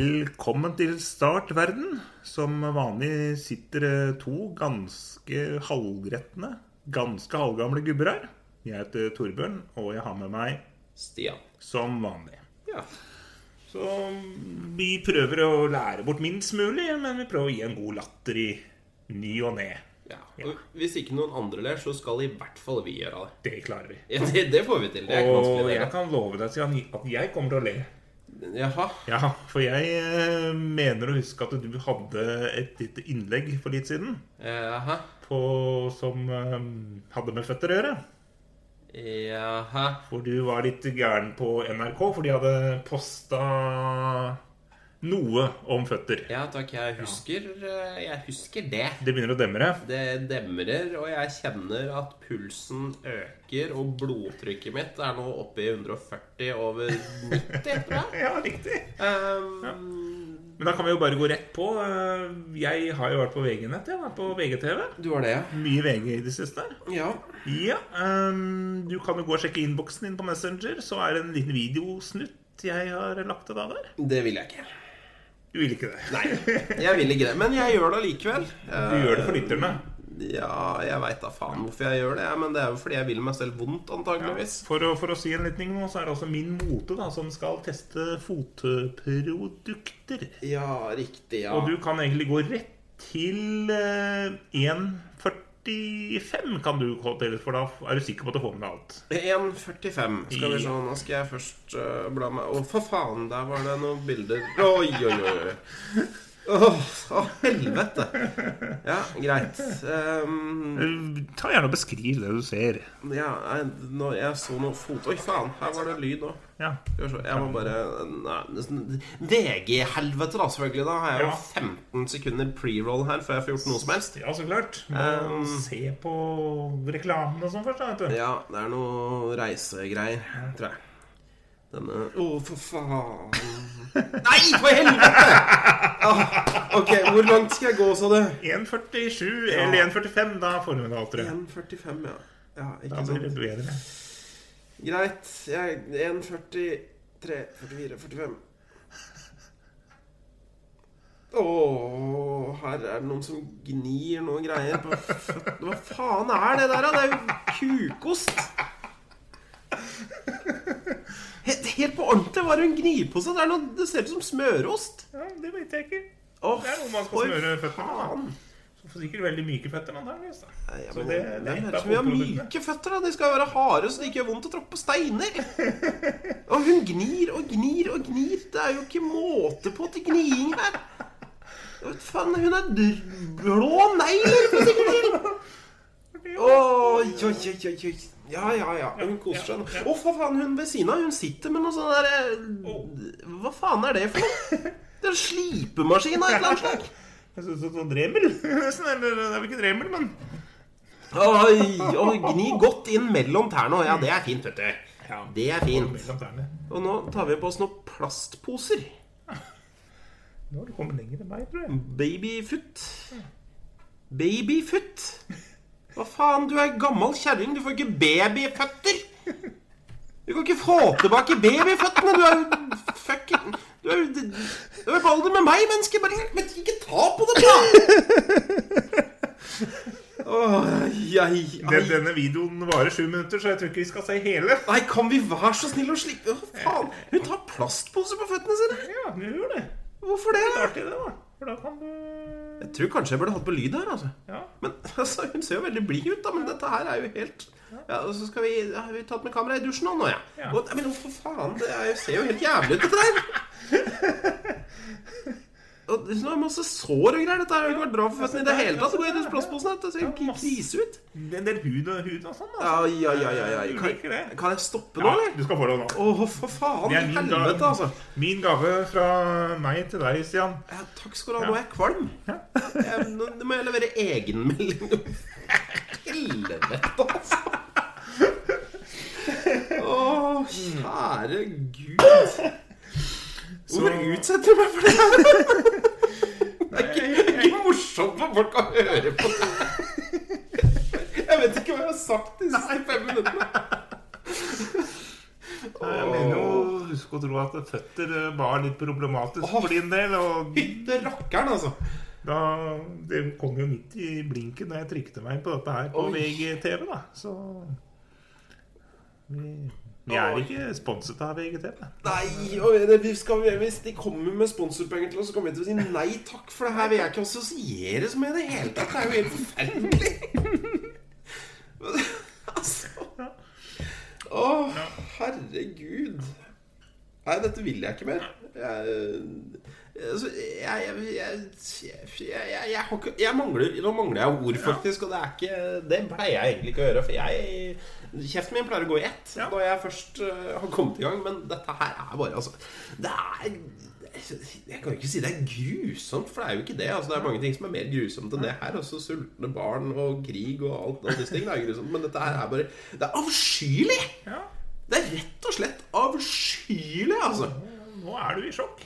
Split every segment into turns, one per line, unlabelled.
Velkommen til Start verden. Som vanlig sitter det to ganske halvgretne, ganske halvgamle gubber her. Jeg heter Torbjørn, og jeg har med meg
Stian.
som vanlig.
Ja.
Så vi prøver å lære bort minst mulig, men vi prøver å gi en god latter i ny og ne.
Og Hvis ikke noen andre ler, så skal i hvert fall vi gjøre det.
Det klarer vi.
Ja, det, det får vi til. Det er ikke
Og
vanskelig.
jeg
det.
kan love deg Stian, at jeg kommer til å le.
Jaha.
Ja, for jeg eh, mener å huske at du hadde et lite innlegg for litt siden.
Jaha.
på, som eh, hadde med føtter å gjøre.
Jaha.
Hvor du var litt gæren på NRK, for de hadde posta noe om føtter.
Ja takk, jeg husker eh, Jeg husker det.
Det begynner å demre.
Det demrer, og jeg kjenner at pulsen øker, og blodtrykket mitt er nå oppe i 140 over 90, tror jeg.
Ja, riktig.
Um,
Men da kan vi jo bare gå rett på. Eh, Jeg har jo vært på VG-nett, jeg. da, På VGTV.
Du har det, ja?
Mye VG i det siste. her.
Ja.
Ja, eh, du kan jo gå og sjekke innboksen din på Messenger, så er det en liten videosnutt jeg har lagt av deg der.
Det vil jeg ikke.
Du vil ikke det? Nei.
Jeg vil ikke det, men jeg gjør det allikevel.
Du gjør det for lytterne.
Ja, jeg veit da faen hvorfor jeg gjør det. jeg, Men det er jo fordi jeg vil meg selv vondt, antageligvis.
For å, for å si en liten ting nå, så er det altså Min Mote da, som skal teste fotprodukter.
Ja, riktig. ja
Og du kan egentlig gå rett til eh, 1,45 kan du gå til, for da er du sikker på at du får med deg alt.
1,45. Skal vi se, nå skal jeg først øh, bla meg Å, for faen, der var det noen bilder. Oi, oi, oi. oi. Åh, å, helvete. Ja, greit. Ehm,
Eh, Ta gjerne og Beskriv det du ser.
ja, jeg, nå, jeg så noe fot... Oi, faen, her var det lyd òg.
Ja.
Skal vi se, Jeg må bare nei, nesten- VG-helvete, da, selvfølgelig. Da har jeg jo
Ja.
15 sekunder pre-roll her før jeg får gjort noe som helst.
Ja, så klart. Må
Um,
se på reklamen og sånn først. da, vet du.
Ja, det er noe reisegreier, tror jeg. Denne Å, for faen. Nei, for helvete! Ah, ok, hvor langt skal jeg gå, sa du?
1,47 eller 1,45. Da får du med deg alt. tror jeg.
1,45, ja. Ja,
Da
ikke
blir det
sant.
bedre.
Greit. Jeg 1,43, 44, 45. Å, her er det noen som gnir noen greier på føttene. Hva faen er det der, da? Det er jo kukost! Helt, helt på ordentlig hva er det hun gnir på seg. Det, er noe, det ser ut som smørost.
Ja, det vet jeg ikke.
Å,
Det er noe man skal
for
smøre føttene med.
faen.
da. Så får sikkert veldig myke føtter, men antakeligvis. da.
Nei, ja,
Så
men
det,
det
det er et
høres ut
av
som vi har
hovedproduktene.
myke føtter. da De skal være harde så det ikke gjør vondt å tråkke på steiner. Og hun gnir og gnir og gnir. Det er jo ikke måte på til gniing her. Hva Faen, hun er dr- blå negler, for sikkert til. sånn. Oi, oi, oi, oi, oi. Ja, ja, ja. Hun koser seg nå. Å, for faen, hun ved siden av, hun sitter med noe sånn derre Hva faen er det for noe? Det er en slipemaskin av et eller annet slag.
Jeg synes det er sånn Dremel, nesten. Eller det er vel ikke Dremel, men
Oi, og gni godt inn mellom tærne. Ja, det er fint, vet du.
Ja.
Det er fint.
mellom tærne.
Og nå tar vi på oss noen plastposer.
Nå har du kommet lenger enn meg, tror jeg.
Babyfoot. Babyfoot. Hva faen, du er gammel kjerring. Du får ikke babyføtter. Du kan ikke få tilbake babyføttene. Du er jo fucking Du er jo Du er på alder med meg, menneske. Bare men ikke ta på det, da! Åh, jeg,
Den, denne videoen varer sju minutter, så jeg tror ikke vi skal se hele.
Nei, kan vi være så snill å slippe Å, faen! Hun tar plastposer på føttene sine!
Ja, du gjør det.
Hvorfor det?
Det er artig, det, da. For da kan du
Jeg tror kanskje jeg burde hatt på lyd her, altså.
Ja.
Men altså, hun ser jo veldig blid ut, da. Men dette her er jo helt Ja, og så skal vi ja, Har vi tatt med kamera i dusjen nå, nå, ja?
Ja.
Og, men hvorfor faen? Det er, jo- ser jo helt jævlig ut, dette der. Og det er masse sår og greier. Dette her har jo ikke vært bra for føttene i det hele tatt. Så går jeg i disse plastposene. Dette ser jo krise ut.
En del hud og, hud og sånn, da.
Ja, ja, ja, ja, ja.
Du liker
Kan,
det?
kan jeg stoppe nå,
Ja,
eller?
du skal få det nå.
Å, for faen.
Det er min gave.
Helvete, altså.
Min gave fra meg til deg, Stian.
Ja, takk skal du ha. Nå er jeg kvalm. Jeg, nå, nå må jeg levere egenmelding. Helvete, altså! Å, kjære gud. Hvorfor utsetter du meg for det her? Det er ikke, det er ikke morsomt for folk å høre på. Jeg vet ikke hva jeg har sagt de siste fem minuttene.
Jeg mener jo husk å tro at føtter eh, var litt problematisk
Åh.
for din del. Og
Fytte rakkeren, altså.
da, det kom jo midt i blinken da jeg trykte meg inn på dette her på
Oi.
VGTV, da. Så vi, vi er
Oi.
ikke sponset av VGTV.
Nei, og det- vi skal, hvis de kommer med sponsorpenger til oss, så kommer vi til å si nei takk, for det her vil jeg ikke assosieres med i det hele tatt. Det er jo helt forferdelig. altså Å, herregud. Nei, dette vil jeg ikke mer. Jeg, altså, jeg, jeg, jeg, jeg, jeg, jeg, jeg, har ikke- jeg mangler Nå mangler jeg ord, faktisk. Og det, er ikke, det pleier jeg egentlig ikke å gjøre. For jeg, kjeften min pleier å gå i ett
Ja.
når jeg først eh, har kommet i gang. Men dette her er bare altså, Det er Jeg kan jo ikke si det er grusomt, for det er jo ikke det. Altså, det er mange ting som er mer grusomt enn det her. Også sultne barn og krig og alt. Alle disse tingene er grusomt. Men dette her er bare Det er avskyelig!
Ja,
Det er rett og slett avskyelig, altså.
nå er du i sjokk.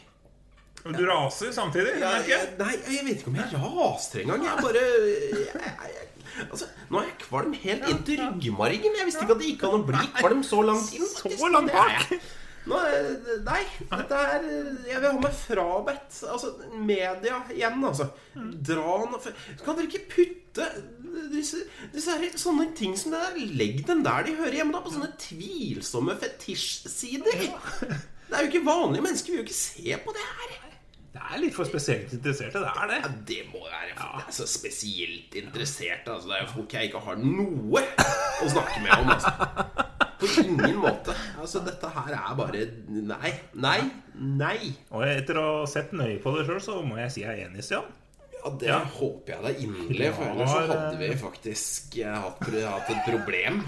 Og du raser samtidig.
Jeg,
merker
jeg,
jeg.
nei, jeg vet ikke om jeg raser engang. Jeg bare jeg, jeg, altså, Nå er jeg kvalm helt inn til ryggmargen. Jeg visste ikke at det gikk an å bli kvalm så langt inn.
Så
faktisk.
langt
Det er
bak.
jeg. Nå, er- nei, dette er Jeg vil ha meg frabedt altså, media igjen, altså. Dra nå for- Kan dere ikke putte disse, disse her, sånne ting som det der Legg dem der de hører hjemme, da. På sånne tvilsomme fetisjsider. Det er jo ikke vanlige mennesker. Vi vil jo ikke se på det her.
Det er litt for spesielt interesserte. Det er det.
Ja, det må være altså, spesielt interessert. Altså, det er jo folk jeg ikke har noe å snakke med om. Altså. På ingen måte. Altså, dette her er bare Nei, nei, nei.
Og etter å ha sett nøye på det sjøl, så må jeg si jeg er enig, Stian.
Ja, det håper jeg da inderlig, for
Ja,
ellers så
det-
hadde vi faktisk eh, hatt, hatt et problem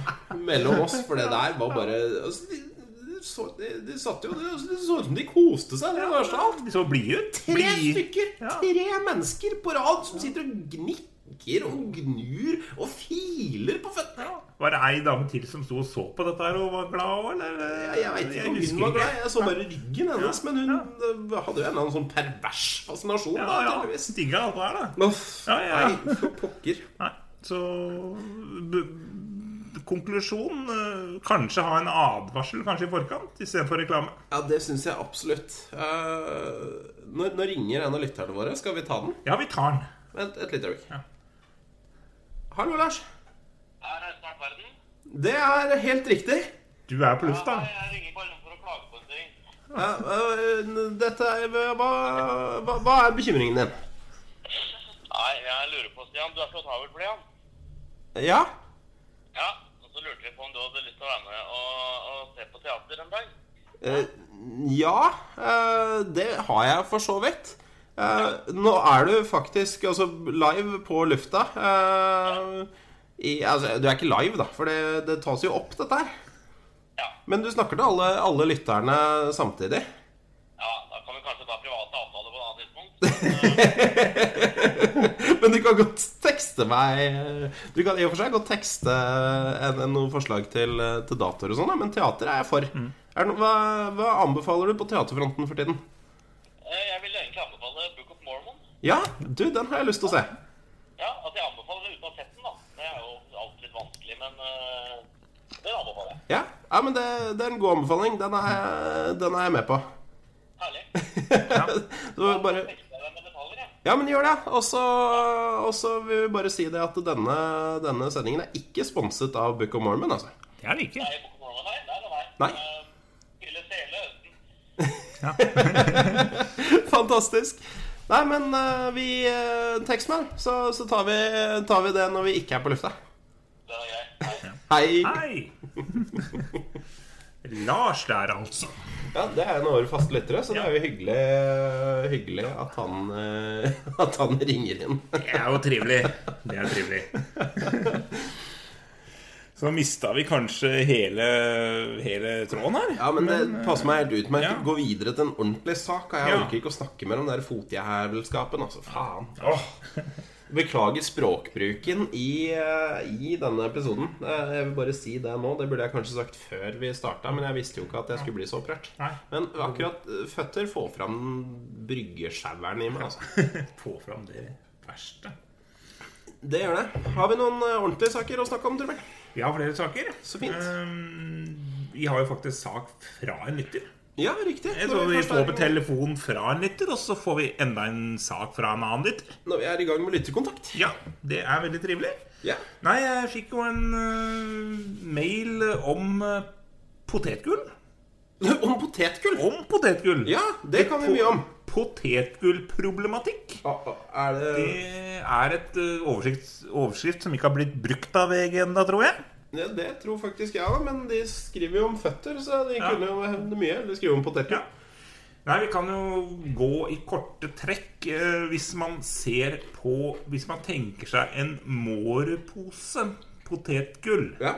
mellom oss. For det der var bare altså, de, de, så, de, de satt jo Det altså, det så ut som de koste seg. Det var verste av alt.
De så blide ut.
Tre
Blide.
stykker,
Ja.
tre mennesker på rad som sitter og gnikker og gnur og filer på føttene.
Var det ei dame til som sto og så på dette her og var glad òg, eller?
Jeg, jeg veit ikke om
husker
hun var
ikke.
glad. Jeg så bare ryggen hennes, men hun
ja.
eh, hadde jo en eller annen sånn pervers fascinasjon.
Ja,
da,
ja.
tydeligvis.
Digga alt det her, da.
Uff,
Ja, ja, ja.
Nei, for pokker.
Nei. Så b Konklusjon eh, Kanskje ha en advarsel kanskje i forkant istedenfor reklame.
Ja, det syns jeg absolutt. Eh, nå, nå ringer en av lytterne våre. Skal vi ta den?
Ja, vi tar den.
Vent et lite øyeblikk.
Ja.
Hallo, Lars.
Her er snart verden.
Det er helt riktig.
Du er på lufta.
Jeg jeg ringer bare for å klage på en ting.
Ja, eh, dette er hva, hva, hva er bekymringen din?
Nei, jeg lurer på, Stian. Du er så travel for det, ja.
Ja?
Ja, og så lurte vi på om du hadde lyst til å være med og, og se på teater en dag.
Eh, ja, eh, det har jeg for så vidt. Eh, nå er du faktisk altså, live på lufta. Eh, i, altså, du er ikke live, da, for det, det tas jo opp, dette her.
Ja.
Men du snakker til alle, alle lytterne samtidig.
Ja, da kan vi kanskje ta private avtaler på et annet tidspunkt.
Men du kan godt tekste meg Du kan i og for seg godt tekste en, en, noen forslag til, til datoer og sånn, da, men teater er jeg for. Er det noe- hva, hva anbefaler du på teaterfronten for tiden?
Eh, Jeg vil egentlig anbefale Book of Mormon.
Ja, du, den har jeg lyst til å se.
Ja, altså jeg anbefaler det uten å ha sett den, da. Det er jo alltid litt vanskelig, men eh, den anbefaler jeg.
Ja, ja men det, det er en god anbefaling. Den er, jeg- den er jeg med på.
Herlig.
Så bare,
Jeg fikser deg med detaljer, jeg.
ja, men gjør det. Og så og så vil vi bare si det at denne, denne sendingen er ikke sponset av Book of Mormon, altså.
Det er det ikke.
Nei, Book of Mormon, nei. Nei, nei,
Nei.
Eh, Spille sele høsten.
Fantastisk. Nei, men eh, vi eh, Tekst meg, så, så tar, vi, tar vi det når vi ikke er på lufta.
Det er jeg. Nei.
Hei.
Hei! Lars der, altså.
Ja, det er en av våre faste lyttere, så det er jo hyggelig, hyggelig at, han, eh, at han ringer inn.
Det er jo trivelig. Det er trivelig. Så mista vi kanskje hele, hele tråden her.
Ja, men det passer meg helt utmerket.
eh, ja.
Gå videre til en ordentlig sak. og Jeg
Ja.
orker ikke å snakke mer om den der fotjævelskapen. Altså, faen. Åh. Beklager språkbruken i, eh, i denne episoden. Eh, Jeg vil bare si det nå. Det burde jeg kanskje sagt før vi starta, men jeg visste jo ikke at jeg skulle bli så opprørt.
Nei.
Men akkurat eh, føtter får fram bryggesjaueren i meg, altså.
Få fram det verste.
Det gjør det. Har vi noen eh, ordentlige saker å snakke om, tror jeg?
Vi har flere saker.
Så fint.
Ehm, vi har jo faktisk sak fra en lytter.
Ja, riktig.
Jeg
Når
tror vi
først
får
er-
på telefon fra en lytter, og så får vi enda en sak fra en annen lytter.
Når vi er i gang med lytterkontakt.
Ja, det er veldig trivelig.
Ja.
Nei, jeg fikk jo en eh, mail om eh, potetgull.
Om potetgull.
Om potetgull.
Ja, det kan vi mye om.
Potetgullproblematikk.
Ah, ah, Er det
Det er et eh, oversikt, overskrift som ikke har blitt brukt av VG ennå, tror jeg.
Ja, det tror faktisk jeg òg, men de skriver jo om føtter, så de
Ja.
kunne jo hevne mye. De skriver om poteter.
Ja. Nei, vi kan jo gå i korte trekk eh, hvis man ser på Hvis man tenker seg en mårepose potetgull
Ja.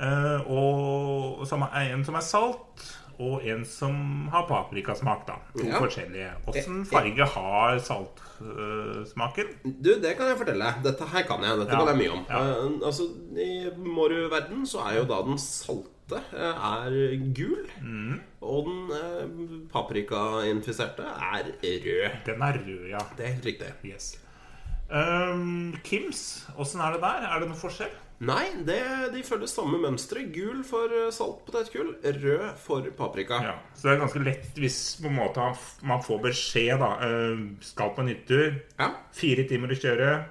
eh, og, som er, En som er salt, og en som har paprikasmak, da. To
Ja.
forskjellige. Åssen farge har saltsmaken?
Du, det kan jeg fortelle. deg. Dette her kan jeg. Dette
Ja.
kan jeg mye om.
Ja.
Eh, altså, I Moru-verden så er jo da den salte eh, er gul,
Mm.
og den eh, paprikainfiserte er rød.
Den er rød, ja.
Det er helt riktig.
Yes. Um, Kims, åssen er det der? Er det noen forskjell?
Nei, det, de følger samme mønstre. Gul for eh, salt potetgull, rød for paprika.
Ja, så det er ganske lett hvis på en måte han f- man får beskjed da eh, Skal på en hyttetur,
Ja.
fire timer å kjøre,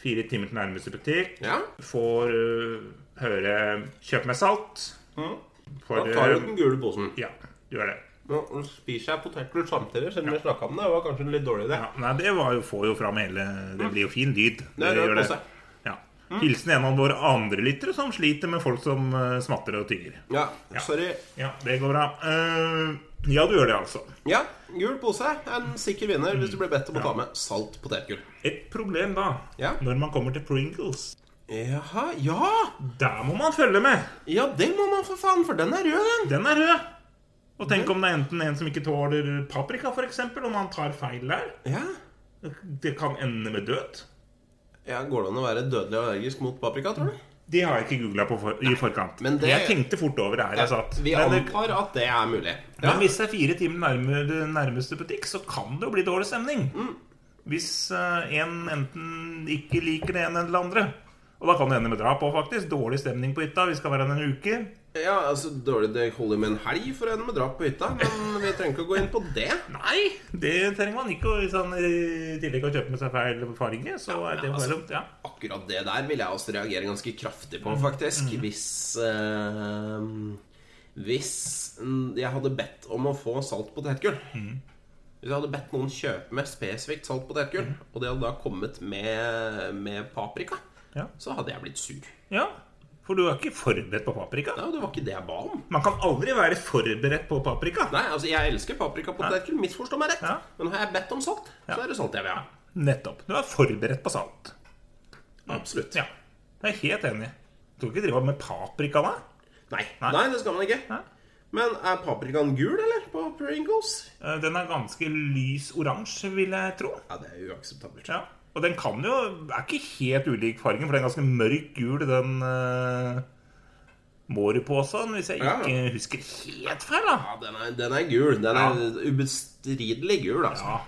fire timer til nærmeste butikk.
ja.
Får eh, høre 'kjøp meg salt'.
Mm. Da
For,
tar
eh,
du den gule posen.
Ja, du gjør det.
Nå spiser jeg potetgull samtidig, selv om vi snakka om det. Det var kanskje en litt dårlig idé.
Ja, nei, det var jo, får jo fram hele Det blir jo fin lyd.
Mm. Det er
gjør
rød pose. Mm.
Ja. Hilsen en av våre andre lyttere som sliter med folk som eh, smatter og tygger.
Ja, sorry.
Ja, det går bra. Eh, ja, du gjør det, altså.
Ja, gul pose. En sikker vinner hvis du blir bedt om å ta med salt potetgull.
Et problem da,
Ja.
når man kommer til Pringles
Jaha, ja!
Der må man følge med.
Ja, det må man for faen, for den er rød, den.
Den er rød. Og
Mhm.
tenk om det er enten en som ikke tåler paprika, f.eks., om han tar feil der.
Ja.
Det kan ende med død.
ja, Går det an å være dødelig allergisk mot paprika, tror du?
Det har jeg ikke googla for, i forkant.
men det-
Jeg tenkte fort over det her jeg satt.
Vi
Men, det-
antar at det er mulig. Ja.
men hvis det er fire timer nærmere nærmeste butikk, så kan det jo bli dårlig stemning. Hvis eh, en enten ikke liker det ene eller det andre. Og da kan det ende med drap òg, faktisk. Dårlig stemning på hytta. Vi skal være der en uke.
ja, altså, dårlig Det holder med en helg for en med drap på hytta, men vi trenger ikke å gå inn på det.
Nei, det trenger man ikke. Og hvis han eh, i tillegg har kjøpt med seg feil farge, så er det jo bare dumt. Ja.
Akkurat det der vil jeg også reagere ganske
Mm.
kraftig på, faktisk. Hvis eh, Hvis mm, jeg hadde bedt om å få salt potetgull
Mm.
Hvis jeg hadde bedt noen kjøpe meg spesifikt
Mm.
salt potetgull, og det hadde da kommet med, med paprika,
Ja.
så hadde jeg blitt sur.
ja, For du er ikke forberedt på paprika?
Ja, det var ikke det jeg ba om.
Man kan aldri være forberedt på paprika.
Nei, altså Jeg elsker paprikapotetgull, misforstå meg rett.
Ja.
Men har jeg bedt om salt, så er det salt jeg vil ha.
Nettopp. Du er forberedt på salt.
Absolutt.
Ja, jeg er helt enig. Du kan ikke drive med paprika, da?
Nei.
Nei.
Nei, det skal man ikke.
Nei.
Men er paprikaen gul, eller? På Pringles?
Eh, Den er ganske lys oransje, vil jeg tro.
Ja, det er uakseptabelt.
Ja. Og den kan jo er ikke helt ulik fargen, for den er ganske mørk gul, den uh, mårepåsen, hvis jeg
Ja.
ikke husker helt feil, da.
Ja, den er, den er gul. Den er ubestridelig gul, altså.
Ja.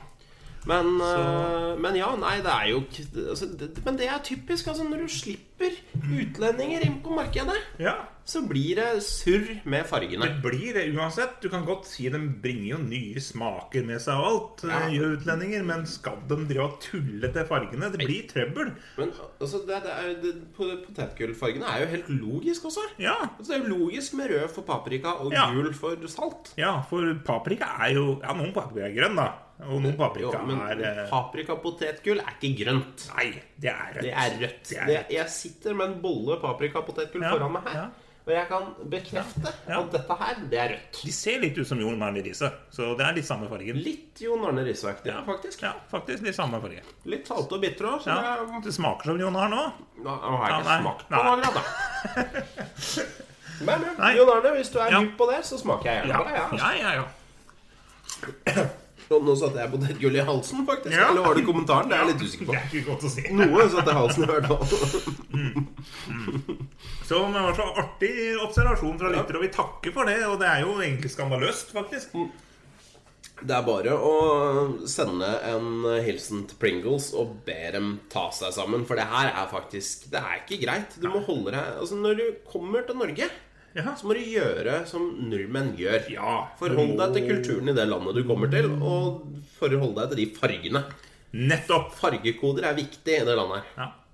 Men, øh, men ja, nei, det er jo ikke- altså, det, Men det er typisk. altså Når du slipper utlendinger inn på markedet,
ja.
så blir det surr med fargene.
Det blir det uansett. Du kan godt si de bringer jo nye smaker med seg og alt,
Ja.
eh, gjør utlendinger, men skal de drive og tulle til fargene? Det blir trøbbel.
Men altså, det, det er, det, po- potetgullfargene er jo helt logisk også.
Ja.
Altså, det er jo logisk med rød for paprika og
Ja.
gul for salt.
ja, for paprika er jo Ja, noen paprika er grønn, da. Og noen
Jo,
paprika
men
er eh,
paprikapotetgull er ikke grønt.
Nei, det er rødt.
Det er rødt.
Det er
Det-
rødt.
jeg sitter med en bolle paprikapotetgull
Ja,
foran meg her.
ja.
Og jeg kan bekrefte
Ja.
at dette her, det er rødt.
De ser litt ut som Jon Arne Riise, så det er litt samme fargen.
Litt Jon Arne Riise-aktig,
Ja.
faktisk.
Ja, faktisk litt samme farge.
Litt salte og bitre òg.
Ja,
Ja.
Det smaker som Jon Arne òg.
Nå har jeg ikke
Ja, nei.
smakt på
Nei.
noe grad, da. Men ja,
Nei.
Jon Arne, hvis du er
Ja.
hypp på det, så smaker jeg gjerne
Ja,
på det.
ja,
Ja.
ja. ja.
Og Nå satte jeg potetgull i halsen, faktisk.
Ja.
Eller var det kommentaren? Det er jeg litt usikker
Det
på.
er ikke godt å si.
Noe satte jeg i halsen i hvert fall.
Så det var så artig observasjon fra lytter, og vi takker for det. Og det er jo egentlig skandaløst, faktisk.
Det er bare å sende en hilsen til Pringles og be dem ta seg sammen. For det her er faktisk Det er ikke greit. Du må holde deg Altså, når du kommer til Norge
Ja.
så må du gjøre som nordmenn gjør.
Ja,
Forhold
du må-
deg til kulturen i det landet du kommer til, og forhold deg til de fargene.
Nettopp.
Fargekoder er viktig i det landet her.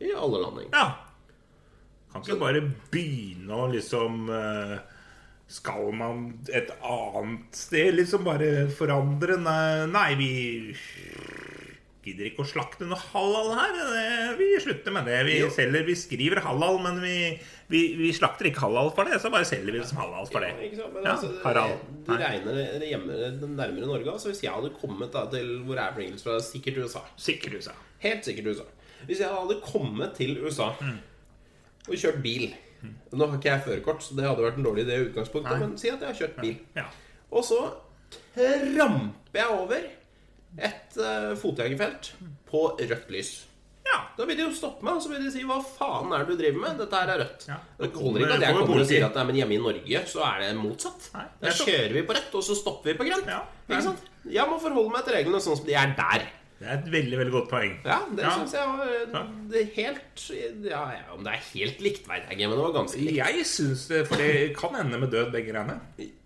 Ja.
I alle land. egentlig.
ja. Kan ikke bare begynne å liksom eh, Skal man et annet sted liksom bare forandre? Nei, nei vi gidder ikke å slakte noe halal her. Det- Vi slutter med det. Vi selger, vi skriver halal, men vi, vi, vi slakter ikke halal for det. Så bare selger vi det som halal for det.
Ja, ikke sant? Men
Ja,
altså, det-
Harald.
Du
Nei.
regner det- det hjemme, det nærmere Norge. Altså, hvis jeg hadde kommet da, til hvor jeg er fra, fra, sikkert USA
Sikrer du seg.
Helt sikkert USA. Hvis jeg hadde kommet til USA
Mm.
og kjørt bil Nå har ikke jeg førerkort, så det hadde vært en dårlig idé i utgangspunktet, men si at jeg har kjørt bil.
Ja.
Og så tramper jeg over et eh, fotgjengerfelt
Mm.
på rødt lys.
ja.
Da vil de jo stoppe meg og så vil de si 'hva faen er det du driver med?' Dette her er rødt.
Ja.
Det holder ikke at jeg kommer og sier at nei, men hjemme i Norge så er det motsatt.
Nei,
Da
nettopp.
kjører vi på rødt, og så stopper vi på grønt.
Ja.
Ikke sant? Jeg må forholde meg til reglene sånn som de er der.
Det er et veldig, veldig godt poeng.
Ja, det
Ja.
synes jeg var eh, det er helt ja, ja, Om det er helt likt, veit jeg ikke, men det var ganske likt.
Jeg syns det, for det kan ende med død, begge greiene.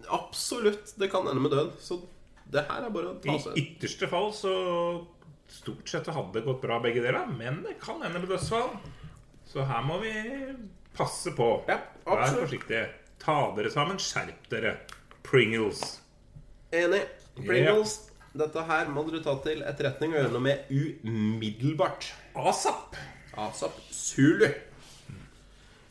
Absolutt. Det kan ende med død. Så det her er bare å
I
ta seg
ytterste fall så stort sett hadde det gått bra, begge deler. Men det kan ende med dødsfall. Så her må vi passe på.
Ja,
Vær
absolutt.
forsiktige. Ta dere sammen. Skjerp dere. Pringles.
Enig. Pringles. Dette her må dere ta til etterretning og gjøre noe med umiddelbart.
ASAP.
Asap Zulu.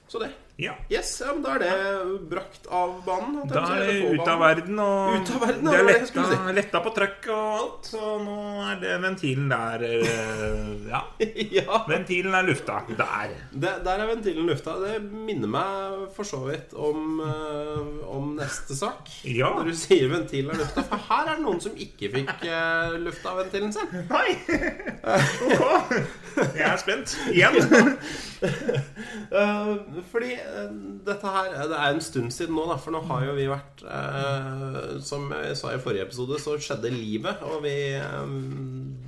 Så det.
Ja.
Yes, ja, men da er det brakt av banen. holdt jeg
Da
på å si,
er det
eller på
ut av
banen.
verden, og
Ut av verden,
det
ja, det
er
var det jeg
letta,
skulle si.
letta på trøkk og alt. Så nå er det ventilen der eh, Ja.
ja,
Ventilen er lufta. Der.
det, Der er ventilen lufta. Det minner meg for så vidt om, eh, om neste sak.
Ja.
Når du sier ventilen er lufta. For her er det noen som ikke fikk eh, lufta av ventilen sin.
Nei! Ok. Jeg er spent. Igjen.
Eh, fordi eh, dette her eh, Det er en stund siden nå, da, for nå har jo vi vært eh, Som jeg sa i forrige episode, så skjedde livet, og vi eh,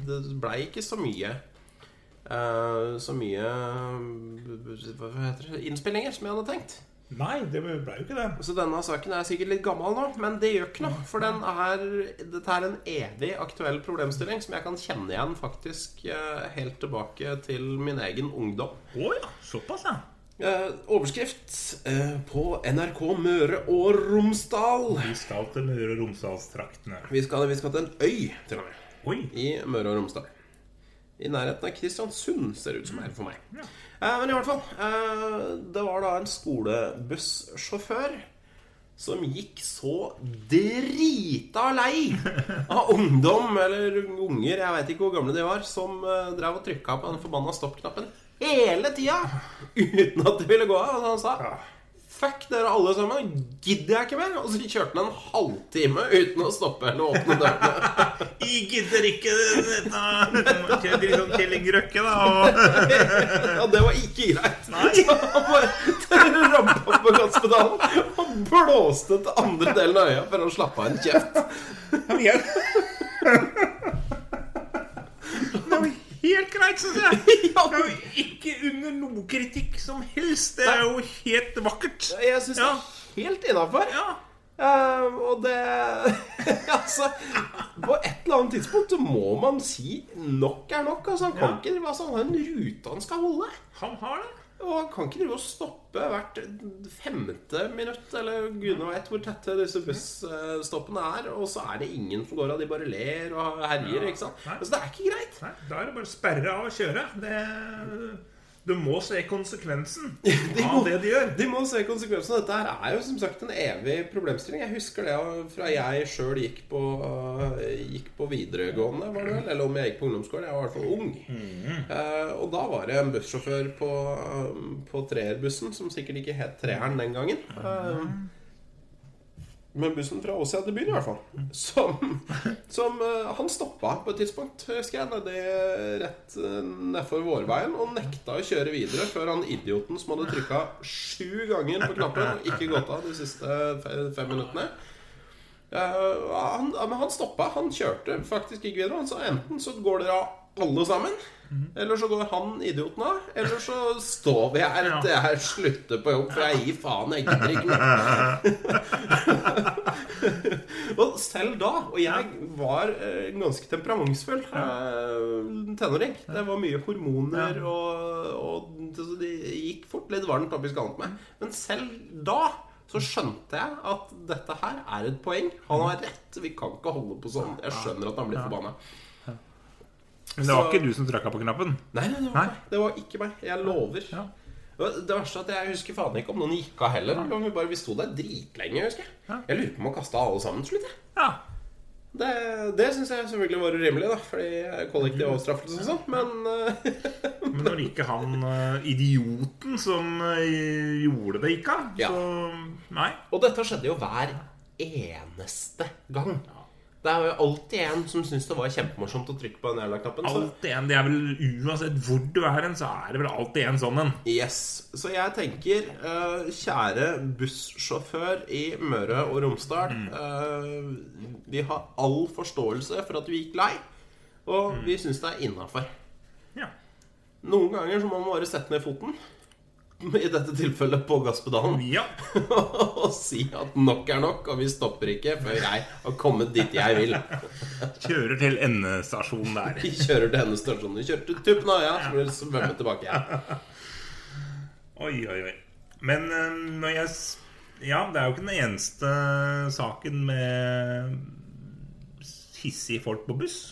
Det blei ikke så mye eh, Så mye eh, Hva heter det innspillinger som jeg hadde tenkt.
Nei, det ble jo ikke det.
Så denne saken er sikkert litt gammel nå, men det gjør ikke noe. For den er, dette er en evig aktuell problemstilling som jeg kan kjenne igjen faktisk eh, helt tilbake til min egen ungdom.
Å ja. Såpass, ja.
Eh, overskrift eh, på NRK Møre og Romsdal.
Vi skal til Møre og Romsdalstraktene.
Vi skal, vi skal til en øy til og med,
Oi.
i Møre og Romsdal. I nærheten av Kristiansund, ser det ut som her for meg.
Ja.
Eh, men i hvert fall. Eh, det var da en skolebussjåfør som gikk så drita lei av ungdom, eller unger, jeg veit ikke hvor gamle de var, som eh, drev og trykka på den forbanna stoppknappen hele tida uten at det ville gå av. Og han sa Fuck dere alle sammen, gidder jeg ikke mer. Og så kjørte han en halvtime uten å stoppe eller åpne dørene.
Jeg gidder ikke dette liksom Kjelling Røkke, da.
Ja, det var ikke greit.
Nei.
Så han bare rampa på gasspedalen og blåste til andre delen av øya for å slappe av en kjeft.
Og... Igjen. Det var helt greit, syns jeg.
Ja,
Det er jo ikke under noe kritikk som helst. Det er jo helt vakkert.
jeg syns
Ja.
det er helt innafor. Eh,
Ja.
og det Altså, på et eller annet tidspunkt så må man si nok er nok. Altså, han kan
Ja.
ikke drive altså, Han har en rute han skal holde.
Han har det.
Og han kan ikke drive og stoppe hvert femte minutt, eller gudene veit hvor tette disse busstoppene er, og så er det ingen som går av, de bare ler og herjer, ikke sant?
Nei.
Altså, det er ikke greit.
Nei, da er det bare å sperre av og kjøre. Det... Du må se konsekvensen av
må-
det de gjør.
De må se konsekvensene. Dette her er jo som sagt en evig problemstilling. Jeg husker det fra jeg sjøl gikk, på- gikk på videregående, var det vel? Eller om jeg gikk på ungdomsskolen. Jeg var i hvert fall ung.
Mhm.
Eh, og da var det en bussjåfør på, eh, på treerbussen, som sikkert ikke het treeren den gangen. Eh, men bussen fra Åsia til byen, i hvert fall. Som, som eh, Han stoppa på et tidspunkt, husker jeg, nedi rett eh, nedfor Vårveien, og nekta å kjøre videre før han idioten som hadde trykka sju ganger på knappen og ikke gått av de siste fe- fem minuttene, Eh, han, ja, men han stoppa. Han kjørte faktisk ikke videre. Han sa enten så går dere av alle sammen, Eller så går han idioten av. Eller så står vi her til jeg slutter på jobb, for jeg gir faen. Jeg gidder ikke mer. og selv da, og jeg var eh, ganske temperamentsfull eh, tenåring Det var mye hormoner, og, og så det gikk fort litt varmt opp i skallen
Mm.
på meg. Men selv da så skjønte jeg at dette her er et poeng. Han har rett. Vi kan ikke holde på sånn. Jeg skjønner at han blir forbanna.
Men det var
Så-
ikke du som trykka på knappen?
Nei, nei, det var, ikke meg. det var ikke meg. Jeg lover.
Ja.
Og Det verste er at jeg husker faen ikke om noen gikk av heller. eller om Vi, bare, vi sto der dritlenge, husker jeg.
Ja.
Jeg lurer på om han kasta alle sammen til slutt. jeg.
Ja.
Det, det syns jeg selvfølgelig var urimelig, da, fordi kollektiv avstraffelse og sånn. Men eh,
Men når ikke han eh, idioten som eh, gjorde det, gikk av,
Ja.
så Nei.
Og dette skjedde jo hver eneste gang. Det er jo alltid en som syns det var kjempemorsomt å trykke på den jævla knappen. Så
Alltid en. Det er vel uansett hvor du er hen, så er det vel alltid en sånn en.
Yes, Så jeg tenker, eh, kjære bussjåfør i Møre og Romsdal eh, Vi har all forståelse for at du gikk lei, og vi syns det er innafor.
Ja.
Noen ganger så må man bare sette ned foten, i dette tilfellet på gasspedalen,
ja.
og si at nok er nok, og vi stopper ikke før jeg har kommet dit jeg vil.
Kjører til endestasjonen der.
Vi kjører til hennes stasjon. Vi kjører til tuppen av øya, så blir det svømme tilbake igjen.
Oi, oi, oi. Men eh, når jeg s- Ja, det er jo ikke den eneste saken med hissige folk på buss.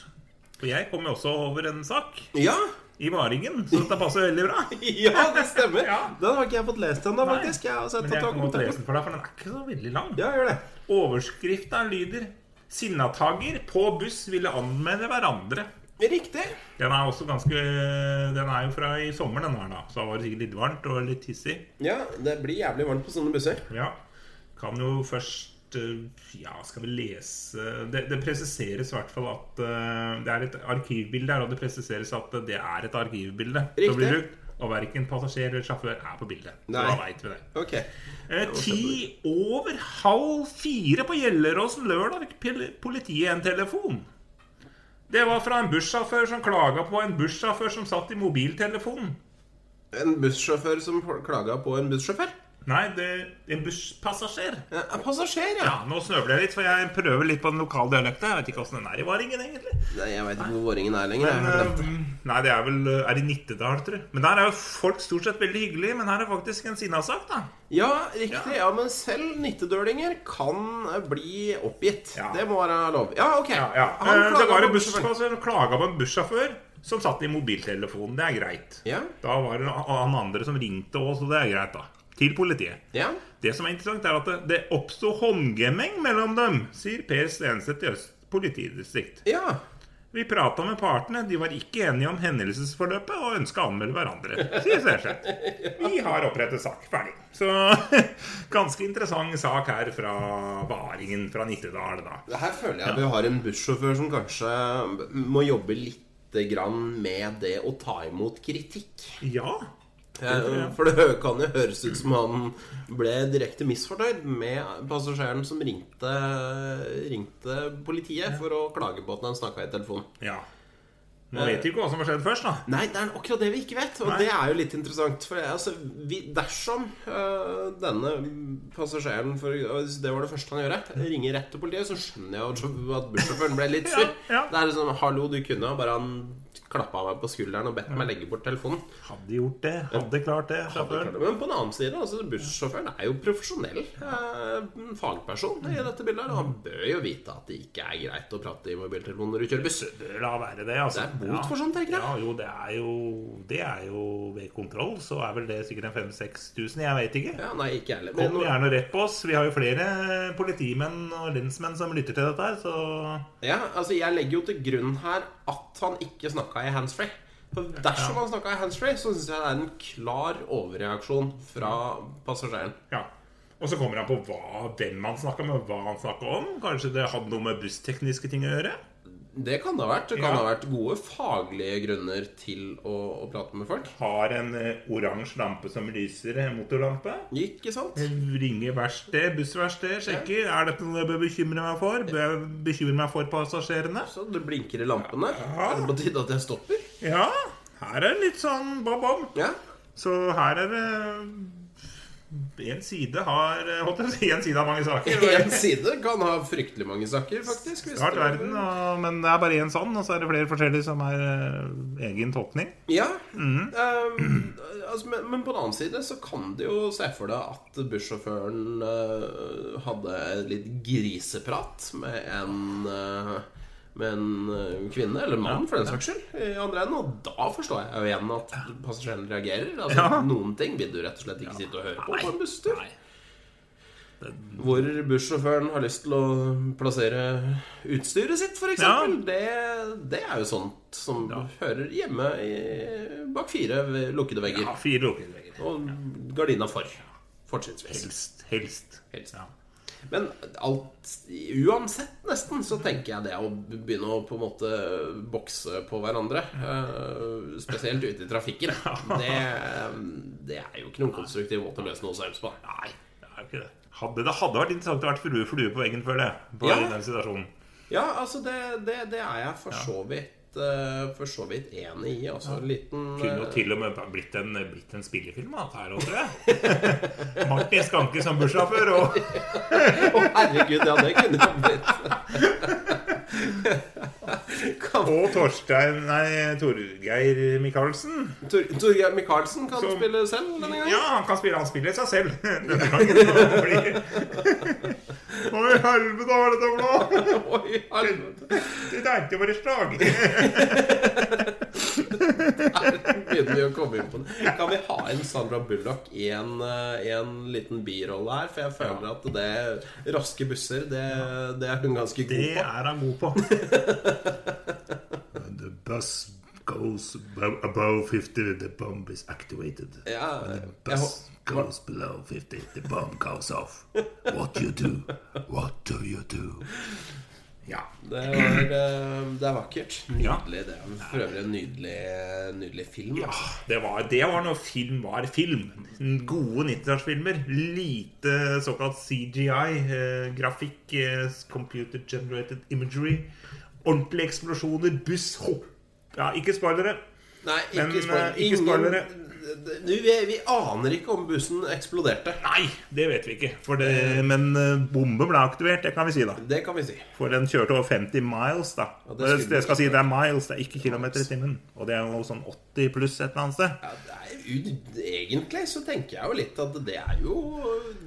For jeg kom jo også over en sak
Ja,
i Varingen, så dette passer veldig bra.
ja, det stemmer.
Ja.
Den har ikke jeg fått lest ennå, faktisk. Jeg har sett
Men jeg
at
kan godt
kommentert den.
lese den for deg, for den er ikke så veldig lang.
Ja, gjør det.
Overskrifta lyder 'Sinnatager på buss ville anmelde hverandre'.
Riktig.
Den er også ganske Den er jo fra i sommer, den her, da. Så da var det sikkert litt varmt og litt hissig.
Ja, det blir jævlig varmt på sånne busser.
Ja. Kan jo først eh, Ja, skal vi lese Det, det presiseres i hvert fall at eh, det er et arkivbilde her, og det presiseres at det er et arkivbilde
Riktig.
som blir brukt. Og verken passasjer eller sjåfør er på bildet. Så
Nei.
da vet vi det.
Ok.
Eh, Ti over halv fire på Gjelleråsen lørdag fikk pil- politiet en telefon. Det var fra en bussjåfør som klaga på en bussjåfør som satt i mobiltelefonen.
En bussjåfør som klaga på en bussjåfør?
Nei, det en busspassasjer.
Ja, En passasjer, ja.
Ja, Nå snøvler jeg litt, for jeg prøver litt på den lokale dialekten. Jeg vet ikke åssen den er i Varingen, egentlig.
Nei, jeg veit ikke hvor våringen er lenger. jeg
Men,
har glemt.
eh, nei, det er vel eh, Er i Nittedal, tror jeg. Men der er jo folk stort sett veldig hyggelige, men her er faktisk en sinnasak, da.
Ja, riktig. Ja, men selv nittedølinger kan bli oppgitt.
Ja.
Det må være lov. Ja, ok.
Ja, ja.
Han
Eh, Det
klaga
var
på
en
bussjåføren.
busspassasjer som klaga på en bussjåfør som satt i mobiltelefonen. Det er greit.
Ja.
Da var det han andre som ringte òg, så det er greit, da. Til politiet.
ja.
Det som er interessant, er at det, det oppsto håndgemeng mellom dem, sier Per Stenseth i Øst politidistrikt.
Ja.
Vi prata med partene, de var ikke enige om hendelsesforløpet og ønska å anmelde hverandre. Sier Stenseth. Vi har opprettet sak. Ferdig. Så ganske interessant sak her fra Varingen fra Nittedal, da.
Her føler jeg at vi har en bussjåfør som kanskje må jobbe lite grann med det å ta imot kritikk.
Ja.
Eh, For det kan jo høres ut som han ble direkte misfornøyd med passasjeren som ringte, ringte politiet for å klage på at han snakka i telefonen.
ja. Nå vet vi ikke hva som har skjedd først, da.
Nei, det er akkurat det vi ikke vet, og
Nei.
det er jo litt interessant. For altså, vi, dersom eh, denne passasjeren for, øh, hvis Det var det første han gjorde. Ringer rett til politiet, så skjønner jeg jo at bussjåføren ble litt sur.
Ja, ja.
Det er liksom 'Hallo, du kunne', bare han klappa meg på skulderen og bedt meg legge bort telefonen.
Hadde gjort det. Hadde klart det. sjåføren.
Men på den annen side, altså, bussjåføren er jo profesjonell eh, fagperson i
Mm.
dette bildet. her, Og han bør jo vite at det ikke er greit å prate i mobiltelefonen når du kjører buss.
bør da være det. Altså.
Det er bot for sånt, tenker jeg.
Ja, jo, det er jo, det er jo ved kontroll, så er vel det sikkert en 5000-6000. Jeg veit ikke.
Ja, nei, ikke jeg heller.
Kom
Men,
gjerne rett på oss. Vi har jo flere politimenn og lensmenn som lytter til dette her, så
ja, altså, jeg legger jo til grunn her at han ikke snakka i handsfree. For dersom han snakka i handsfree, så syns jeg det er en klar overreaksjon fra passasjeren.
Ja. Og så kommer han på hva, hvem han snakka med, hva han snakka om. Kanskje det hadde noe med busstekniske ting å gjøre?
Det kan det ha vært. Det kan
Ja.
ha vært gode faglige grunner til å, å prate med folk.
Har en eh, oransje lampe som lyser, eh, motorlampe.
Ikke sant?
Ringer verksted, bussverksted, sjekker. Er dette noe jeg bør bekymre meg for? Bør jeg bekymre meg for passasjerene?
Så det blinker i lampene.
Ja.
Er det på tide at jeg stopper?
Ja, Her er det litt sånn bob-bob.
Ja.
Så her er det Én side har holdt jeg på å si, en side har mange saker.
Én side kan ha fryktelig mange saker, faktisk. hvis
Rart
du-
verden, og, men det er bare én sånn, og så er det flere forskjellige som er eh, egen tolkning.
Ja.
Mhm.
ehm, altså, men, men på den annen side så kan du jo se for deg at bussjåføren eh, hadde litt griseprat med en eh, med en eh, kvinne, eller mann for den saks skyld, i andre enden. Og da forstår jeg jo igjen at passasjeren reagerer. Altså,
Ja.
Noen ting vil du rett og slett ikke sitte og høre på på en busstur. Hvor bussjåføren har lyst til å plassere utstyret sitt, f.eks.
Ja.
Det, det er jo sånt som hører hjemme i, bak fire ved lukkede vegger.
Ja, fire lukkede vegger.
Og gardina for. Fortrinnsvis.
Helst. helst.
Helst.
Ja.
Men alt, uansett, nesten, så tenker jeg det å begynne å på en måte bokse på hverandre, eh, spesielt ute i trafikken, det, det er jo ikke noen konstruktiv måte å løse noe saus på. Nei.
Det er jo ikke det. Hadde, det hadde vært interessant å være flue, flue på veggen før det. På
Ja.
den situasjonen.
Ja, altså det, det, det er jeg for så vidt eh, For så vidt enig i. Altså en liten
Kunne jo
eh,
til og med blitt en, blitt en spillefilm av dette her òg, tror jeg. Martin Skanke som bussjåfør og
Å, herregud, ja, det kunne jeg blitt. kan,
Og Torstein Nei, Torgeir Micaelsen.
Tor, Torgeir Micaelsen kan
Som-
spille selv denne gangen.
Ja, han kan spille. Han spiller seg selv denne gangen. så det blir- Hva i helvete var dette for noe?
Oi, helvete.
Det tenkte bare slag.
Her begynner vi å komme inn på det. Kan vi ha en Sandra Bullock i en, eh, i en liten birolle her? For jeg føler at det Raske busser, det, det er hun ganske god
Det
på.
er han god på. When the bus goes abo- above 50, the bomb is activated.
Ja, jeg, hå-
Bus goes below 50, the bomb goes off. What you do? What do you do? Ja.
Det var, eh, det er vakkert.
Ja.
Nydelig. Det er for øvrig en nydelig, nydelig film.
Ja,
altså.
det var, det var når film var film. Gode 90-tallsfilmer. Lite såkalt CGI. Eh, grafikk, eh, computer generated imagery. Ordentlige eksplosjoner, buss, hopp Ja, ikke spoilere.
Nei, ikke,
Men, eh,
spoil-
ikke spoilere.
Ingen, du, vi, vi aner ikke om bussen eksploderte.
Nei, det vet vi ikke. For det, men eh, bombe ble aktivert, det kan vi si, da.
Det kan vi si.
For den kjørte over 50 miles, da.
Ja, det
det,
skulle
det skal si det er miles, det er ikke kilometer i timen. Og det er jo sånn 80 pluss et eller annet sted.
Ja, det er, jo- egentlig så tenker jeg jo litt at det er jo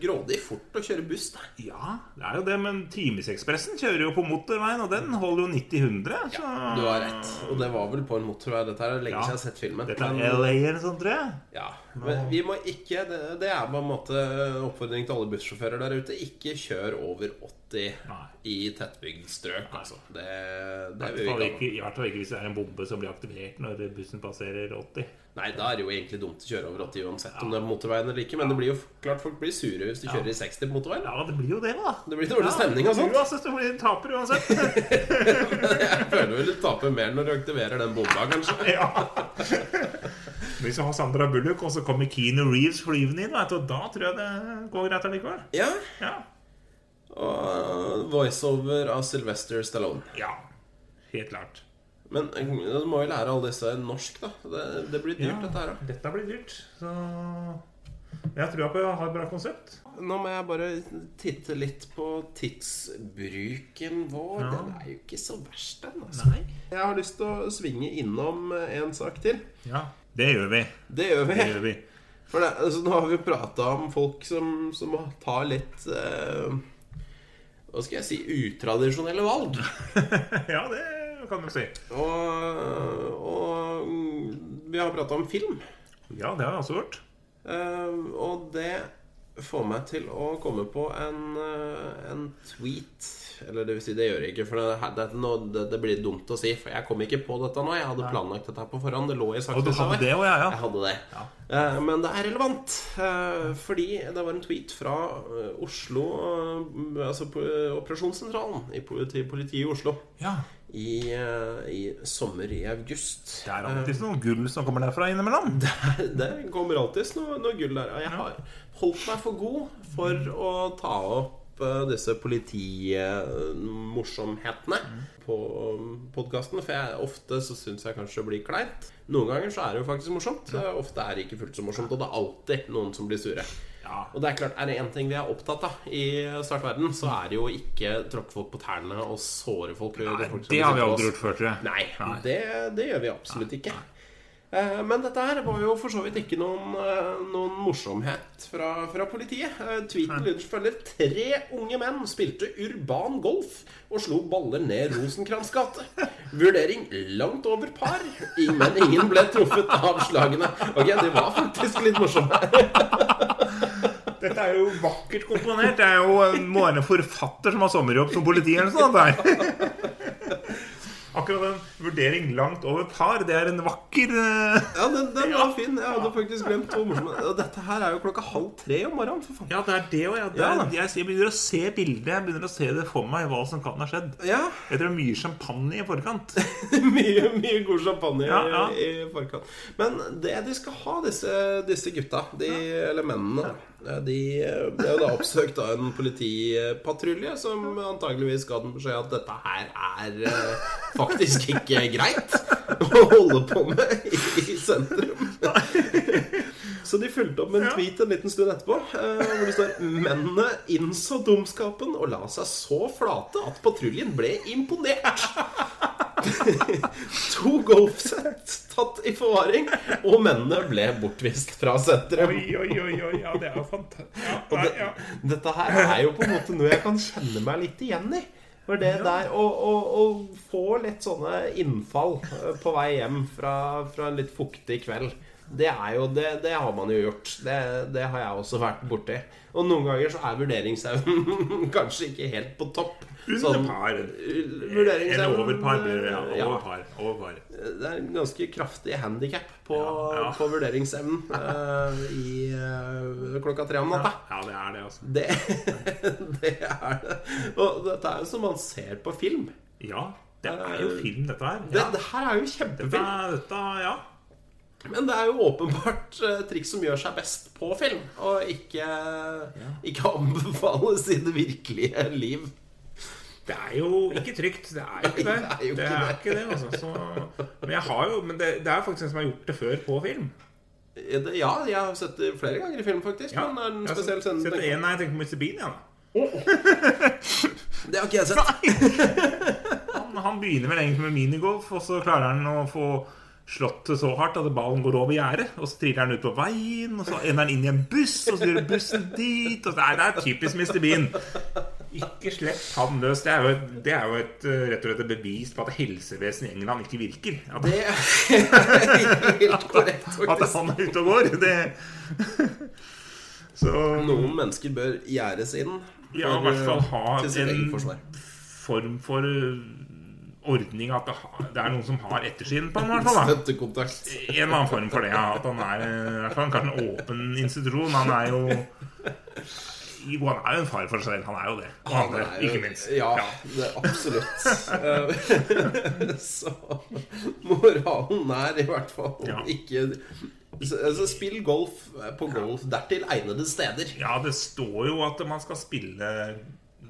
grådig fort å kjøre buss. Da.
Ja, det er jo det, men Timesekspressen kjører jo på motorveien, og den holder jo 90-100. Så
Du har rett. Og det var vel på en motorvei. Dette her er lenge
Ja.
siden jeg har sett filmen.
dette
men-
er LA eller sånt, tror jeg.
Ja, men vi må ikke Det, det er på en måte en oppfordring til alle bussjåfører der ute. Ikke kjør over 80
Nei.
i tettbygd strøk, altså. Det, det
I hvert
vil
fall
vi ikke
ikke, i hvert fall ikke hvis det er en bombe som blir aktivert når bussen passerer 80.
ha. Nei, da er det jo egentlig dumt å kjøre over 80 uansett om det er på motorveien eller ikke. Men det blir jo klart folk blir sure hvis de kjører i 60 på motorveien.
Ja, det blir jo det, da.
Det blir dårlig stemning og sånt.
Uansett, det blir taper uansett.
Jeg føler vel du taper mer når du aktiverer den bomba, kanskje.
ja. Hvis du har Sandra Bullock, og så kommer Keanu Reeves flyvende inn, vet du, og da tror jeg det går greit allikevel.
Ja,
Ja.
og voiceover av Sylvester Stallone.
ja. Helt klart.
Men eh, du må jo lære alle disse norsk, da. Det, det blir dyrt, dette her. da.
Dette blir dyrt, så Jeg tror på jeg har et bra konsept.
Nå må jeg bare titte litt på tidsbruken vår. Den er jo ikke så verst, den. altså
Nei.
Jeg har lyst til å svinge innom eh, en sak til.
Ja, det gjør vi.
Det gjør vi.
Det gjør vi.
For det, altså, nå har vi prata om folk som, som tar litt eh, Hva skal jeg si utradisjonelle valg.
ja, det kan du si.
Og, og mm, vi har prata om film.
Ja, det har jeg også hørt.
Eh, og det får meg til å komme på en, eh, en tweet. Eller det vil si, det gjør jeg ikke, for det, her- det, er noe- det, det blir dumt å si. For jeg kom ikke på dette nå. Jeg hadde planlagt dette her på forhånd. Det lå i
Og du
sakslista
hadde
der.
det òg, ja,
Jeg
ja.
hadde det. Eh, men det er relevant. eh, fordi det var en tweet fra eh, Oslo eh, Altså på, eh, operasjonssentralen i politi, politiet i Oslo
ja.
i, eh, i sommer, i august.
Det er alltid noe gull som kommer derfra innimellom.
Det kommer alltids noe, noe gull der. Og jeg har holdt meg for god for å ta opp opp eh, disse politimorssomhetene på podkasten. For jeg, ofte så syns jeg kanskje det blir kleint. Noen ganger så er det jo faktisk morsomt. Eh, Ofte er det ikke fullt så morsomt, og det er alltid noen som blir sure.
Ja.
Og det er klart, er det én ting vi er opptatt av i startverden, så er det jo ikke tråkke folk på tærne og såre folk. og
Nei,
gjøre folk som
det har vi
sitter på
aldri
oss.
gjort før, tror jeg.
Nei, Det, det gjør vi absolutt ikke. Eh, Men dette her var jo for så vidt ikke noen, eh, noen morsomhet fra, fra politiet. Eh, Tweeten lyder følger tre unge menn spilte urban golf og slo baller ned Rosenkrantz gate. Vurdering langt over par, i- men ingen ble truffet av slagene. Ok, de var faktisk litt morsomme.
Dette er jo vakkert komponert. Det er jo en- må være en forfatter som har sommerjobb som politi eller noe sånt. det er. Akkurat en vurdering langt over par, det er en vakker eh,
Ja, den, den var fin. Jeg hadde faktisk glemt hvor morsom Og dette her er jo klokka halv tre om morgenen, for faen.
Ja, det er det òg, ja. Det
Ja, da.
er, jeg, jeg begynner å se bildet. Jeg begynner å se det for meg, hva som kan ha skjedd.
Ja.
Jeg tror det er mye champagne i forkant.
mye, mye god champagne
Ja, ja.
I, i forkant. Men det de skal ha, disse, disse gutta, de, eller mennene, da, de ble jo da oppsøkt av en politipatrulje som antageligvis ga dem beskjed at dette her er eh, faktisk ikke greit å holde på med i, i sentrum. Så de fulgte opp med en
Ja.
tweet en liten stund etterpå, eh, hvor det står Mennene innså dumskapen og la seg så flate at patruljen ble imponert. To golfsett tatt i forvaring, og mennene ble bortvist fra sentrum.
Oi, oi, oi, oi, ja, det er jo fantastisk. Ja,
Og
nei,
det,
ja.
dette her er jo på en måte noe jeg kan kjenne meg litt igjen i. For det der å, å, å få litt sånne innfall eh, på vei hjem fra, fra en litt fuktig kveld, det er jo Det, det har man jo gjort. Det, det har jeg også vært borti. Og noen ganger så er vurderingsevnen kanskje ikke helt på topp. Sånn
Under par. Eller over par. blir det, Sånn Ja, over par. Over par.
det er en ganske kraftig handikap på,
Ja, ja.
på vurderingsevnen eh, i eh, klokka tre om natta.
Ja, det er det, altså.
Det, det er det. Og dette er jo som man ser på film.
Ja, det er jo film, dette her.
Eh, Det,
Ja.
det her er jo
Dette,
kjempefilm.
dette, ja.
Men det er jo åpenbart eh, triks som gjør seg best på film, og ikke, ikke anbefales i det virkelige liv.
Det er jo ikke trygt. Det er jo ikke det.
Nei, det er jo
Det
ikke
er
det.
ikke det, altså. Så, men jeg har jo Men det, det er faktisk en som har gjort det før på film.
Eh, det- Ja, jeg har sett det flere ganger i film, faktisk. Men er den
Jeg har
spesiell
sett-
scenen
sett
tenker-
en, Nei, jeg tenker på Mr. Bean, jeg, da.
Det har ikke jeg sett.
Han, han begynner vel egentlig med minigolf, og så klarer han å få slått det så hardt at ballen går over gjerdet. Og så triller han ut på veien, og så ender han inn i en buss, og så driver bussen dit. Og så, nei, det er typisk Mr. Bean. Ikke slipp han løs. Det er jo, et, det er jo et, eh, rett og slett et bevis på at helsevesenet i England ikke virker. At,
Det er helt korrekt,
at
faktisk.
han er ute og går. Det Så
Noen mennesker bør gjerdes inn.
Ja, i
for, eh,
hvert fall ha
til sitt eget
en
forsvar.
form for eh, ordning at det ha- det er noen som har ettersyn på han, i hvert fall. da.
Støttekontakt.
En eller annen form for det, ja. At han er eh, i hvert fall kanskje en åpen institusjon. Han er jo Jo, han er jo en far for seg selv. Han er jo det. Og andre,
Nei,
ikke minst.
Ja, det er absolutt. Eh, Så moralen er i hvert fall
Ja.
ikke så, altså, Spill golf på golf dertil egnede steder.
Ja, det står jo at man skal spille det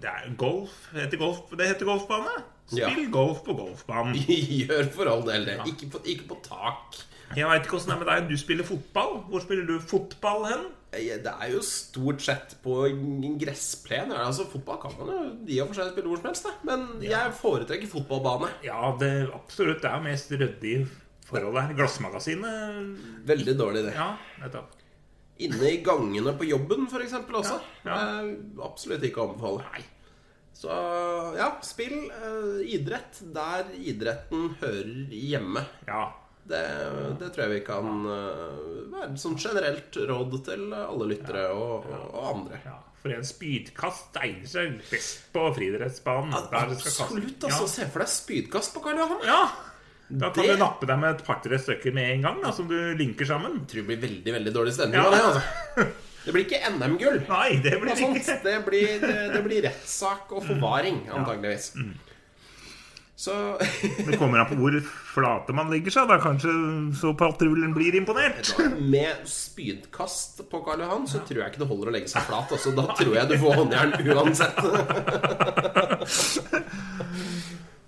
er golf. Heter golf det heter golfbane? Spill
Ja.
golf på golfbanen.
Gjør for all del det. Ikke på, ikke på tak.
Jeg veit ikke åssen det er med deg. Du spiller fotball. Hvor spiller du fotball hen?
Eh, Det er jo stort sett på en gressplen. Altså, fotball kan man jo i og for seg spille hvor som helst, da. men jeg foretrekker fotballbane.
Ja, det absolutt. Det er mest ryddig forhold her. Glassmagasinet
Veldig dårlig, det.
Ja, nettopp.
Inne i gangene på jobben, for eksempel, også.
Ja, ja.
Eh, absolutt ikke å anbefale. Så ja, spill eh, idrett der idretten hører hjemme.
Ja.
Det, det tror jeg vi kan eh, være som generelt råd til alle lyttere og, og, og andre.
ja. For en spydkast egner seg best på friidrettsbanen. Der du skal kaste.
Absolutt, altså. Se for deg spydkast på Karl Johan.
Ja. ja! Da kan
Det-
du nappe deg med et par-tre stykker med en gang, da, som du linker sammen.
Jeg tror det blir veldig, veldig dårlig stemning
Ja.
av det, altså. Det blir ikke NM-gull.
Nei, det blir
Det,
ikke Mm.
det blir, det blir rettssak og forvaring, antageligvis. Så
Det kommer an på hvor flate man legger seg, da. Kanskje så patruljen blir imponert.
med spydkast på Karl Johan så tror jeg ikke det holder å legge seg flat. Altså, da tror jeg du får håndjern uansett.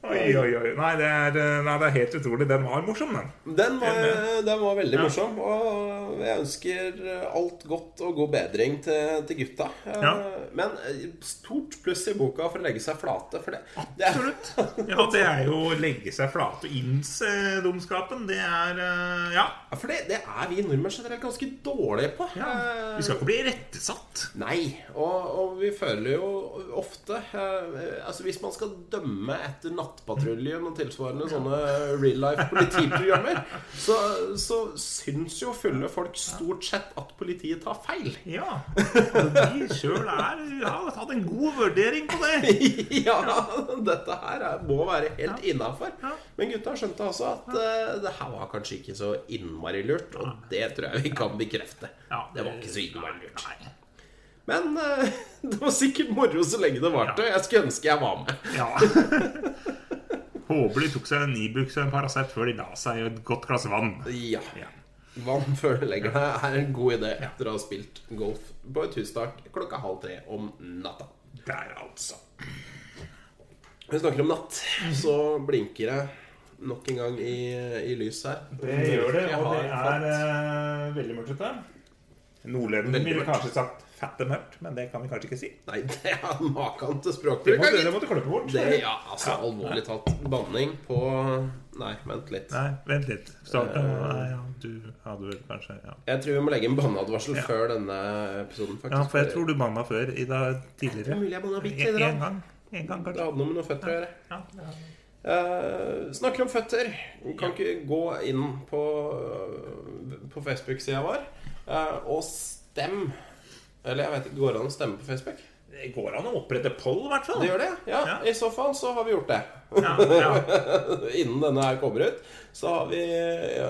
Oi, oi, oi. Nei, det er, eh, nei, det er helt utrolig. Den var morsom, den.
Den var, den var veldig morsom, og jeg ønsker alt godt og god bedring til, til gutta. Eh,
Ja.
Men eh, stort pluss i boka for å legge seg flate. For det, det er,
Absolutt. Ja, det er jo å legge seg flate og innse dumskapen. Det er eh, Ja.
Ja, for det, det er vi nordmenn generelt ganske dårlige på.
ja.
Eh,
Vi skal ikke bli rettesatt.
Nei, og, og vi føler jo ofte eh, Altså Hvis man skal dømme etter Nattpatruljen og tilsvarende sånne real life politiprogrammer, så, så syns jo fulle folk stort sett at politiet tar feil.
Ja. Og vi sjøl er har hatt en god vurdering på det.
ja, dette her er, må være helt innafor.
Ja.
Men gutta skjønte altså at eh, det her var kanskje ikke så innmari lurt, og det tror jeg vi kan bekrefte.
Ja.
Det var ikke så innmari lurt.
Nei.
Men eh, det var sikkert moro så lenge det varte. Jeg skulle ønske jeg var med.
Ja. Håper de tok seg en Ibux og en Paracet før de la seg i et godt glass vann.
Ja.
Ja.
Vann før du legger deg er en god idé etter å ha spilt golf på et hustak klokka halv tre om natta.
Der, altså.
Når vi snakker om natt, så blinker det nok en gang i, i lys her.
Det gjør det,
Jeg
og
har
det er eh, veldig mørkt ute. Nordlenden
Veldig
ville
mørkt.
kanskje sagt fatte mørkt, men det kan vi kanskje ikke si.
Nei, det er maken til
Det
språkbruk.
måtte,
gitt.
det måtte klippe bort.
Det, ja, altså, alvorlig talt. Banning på Nei, vent litt.
Nei, vent litt. Start, nei, ja, du hadde vel kanskje ja.
Jeg tror vi må legge en banneadvarsel før denne episoden, faktisk.
ja, for jeg tror du banna før i dag
Det
tidligere.
er mulig jeg banna bitte
En-
lite grann.
En gang. En gang,
Det
kanskje.
hadde noe med noen føtter å gjøre.
Ja, ja.
Eh, snakker om føtter. Kan ikke gå inn på, på Facebook-sida vår eh, og stem. Eller jeg vet ikke, går det an å stemme på Facebook?
Det går an å opprette poll, i hvert fall.
Det gjør det? Ja,
Ja.
i så fall så har vi gjort det.
Ja, ja.
Innen denne her kommer ut, så har vi,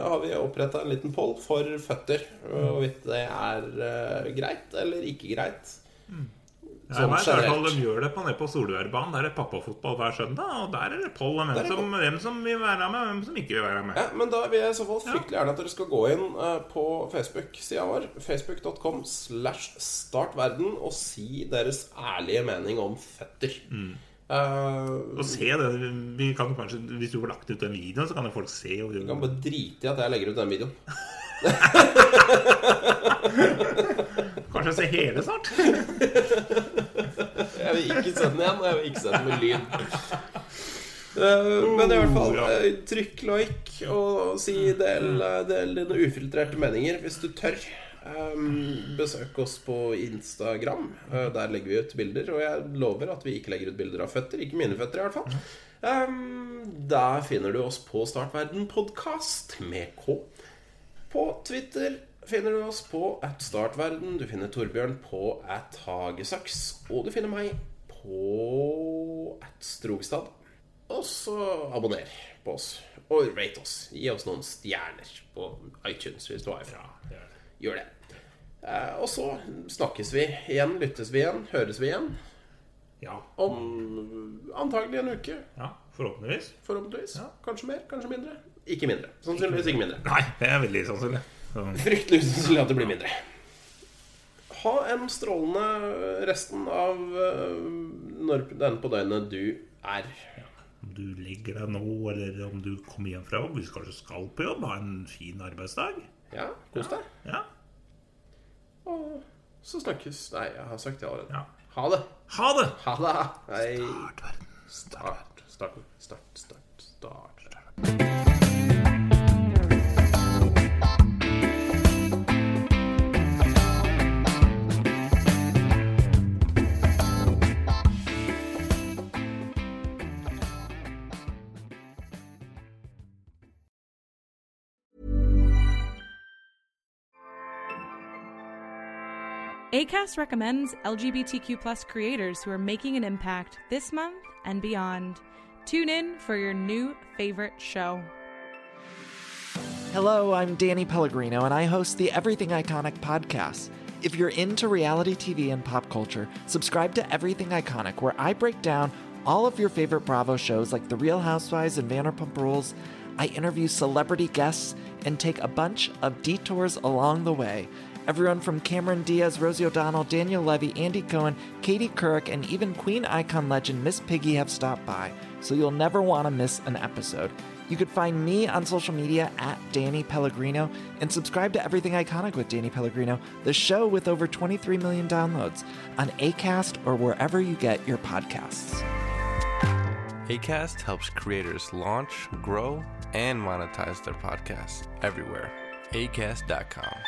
har vi oppretta en liten poll for føtter.
Mm.
Hvorvidt det er eh, greit eller ikke greit.
Jeg vet, i
Sånn
hvert fall
generelt.
de gjør det på nede på Solørbanen. Der er det pappafotball hver søndag. Og der er det poll om
Der
hvem som,
er det
hvem som vil være med, og hvem som ikke vil være med.
Ja, men da vil jeg i så fall fryktelig gjerne at dere skal gå inn eh, på Facebook-sida vår. Facebook.com slash startverden og si deres ærlige mening om føtter. Eh,
Og se det. Vi kan jo kanskje, hvis du får lagt ut den videoen, så kan jo folk se. Og,
du kan bare drite i at jeg legger ut den videoen.
kanskje se hele snart.
Jeg vil ikke sende den igjen, og jeg vil ikke sende den med lyd. Eh, Men i hvert fall,
Ja.
eh, trykk like og si del, eh, del dine ufiltrerte meninger hvis du tør. Eh, besøk oss på Instagram. Eh, der legger vi ut bilder. Og jeg lover at vi ikke legger ut bilder av føtter. Ikke mine føtter, i hvert fall. Eh, der finner du oss på Startverden podkast med K. På Twitter finner du oss på at startverden. Du finner Torbjørn på at hagesaks. Og du finner meg på at strogstad. Og så abonner på oss. Og rate oss. Gi oss noen stjerner på iTunes hvis du har ifra. Gjør det. Eh, Og så snakkes vi igjen, lyttes vi igjen, høres vi igjen
Ja.
om antagelig en uke.
ja. Forhåpentligvis.
Forhåpentligvis. Kanskje mer, kanskje mindre. Ikke mindre. Sannsynligvis ikke mindre.
Nei, det er veldig sannsynlig. Så,
Fryktelig usannsynlig at det blir mindre. Ha en strålende resten av øh, når den på døgnet du er.
om du legger deg nå, eller om du kommer hjem fra jobb, hvis du kanskje skal på jobb, ha en fin arbeidsdag.
Ja, kos deg.
Ja.
Og så snakkes. Nei, jeg har sagt det allerede.
Ja.
Ha det.
Ha det!
Ha det. Hei.
Hardt verden.
Start, start, start, start, start.
ACAST recommends LGBTQ plus creators who are making an impact this month and beyond. Tune in for your new favorite show.
Hello, I'm Danny Pellegrino, and I host the Everything Iconic podcast. If you're into reality TV and pop culture, subscribe to Everything Iconic, where I break down all of your favorite Bravo shows like The Real Housewives and Vanderpump Rules. I interview celebrity guests and take a bunch of detours along the way. Everyone from Cameron Diaz, Rosie O'Donnell, Daniel Levy, Andy Cohen, Katie Couric, and even Queen icon legend Miss Piggy have stopped by, so you'll never want to miss an episode. You could find me on social media at Danny Pellegrino and subscribe to Everything Iconic with Danny Pellegrino, the show with over 23 million downloads on ACAST or wherever you get your podcasts.
ACAST helps creators launch, grow, and monetize their podcasts everywhere. ACAST.com.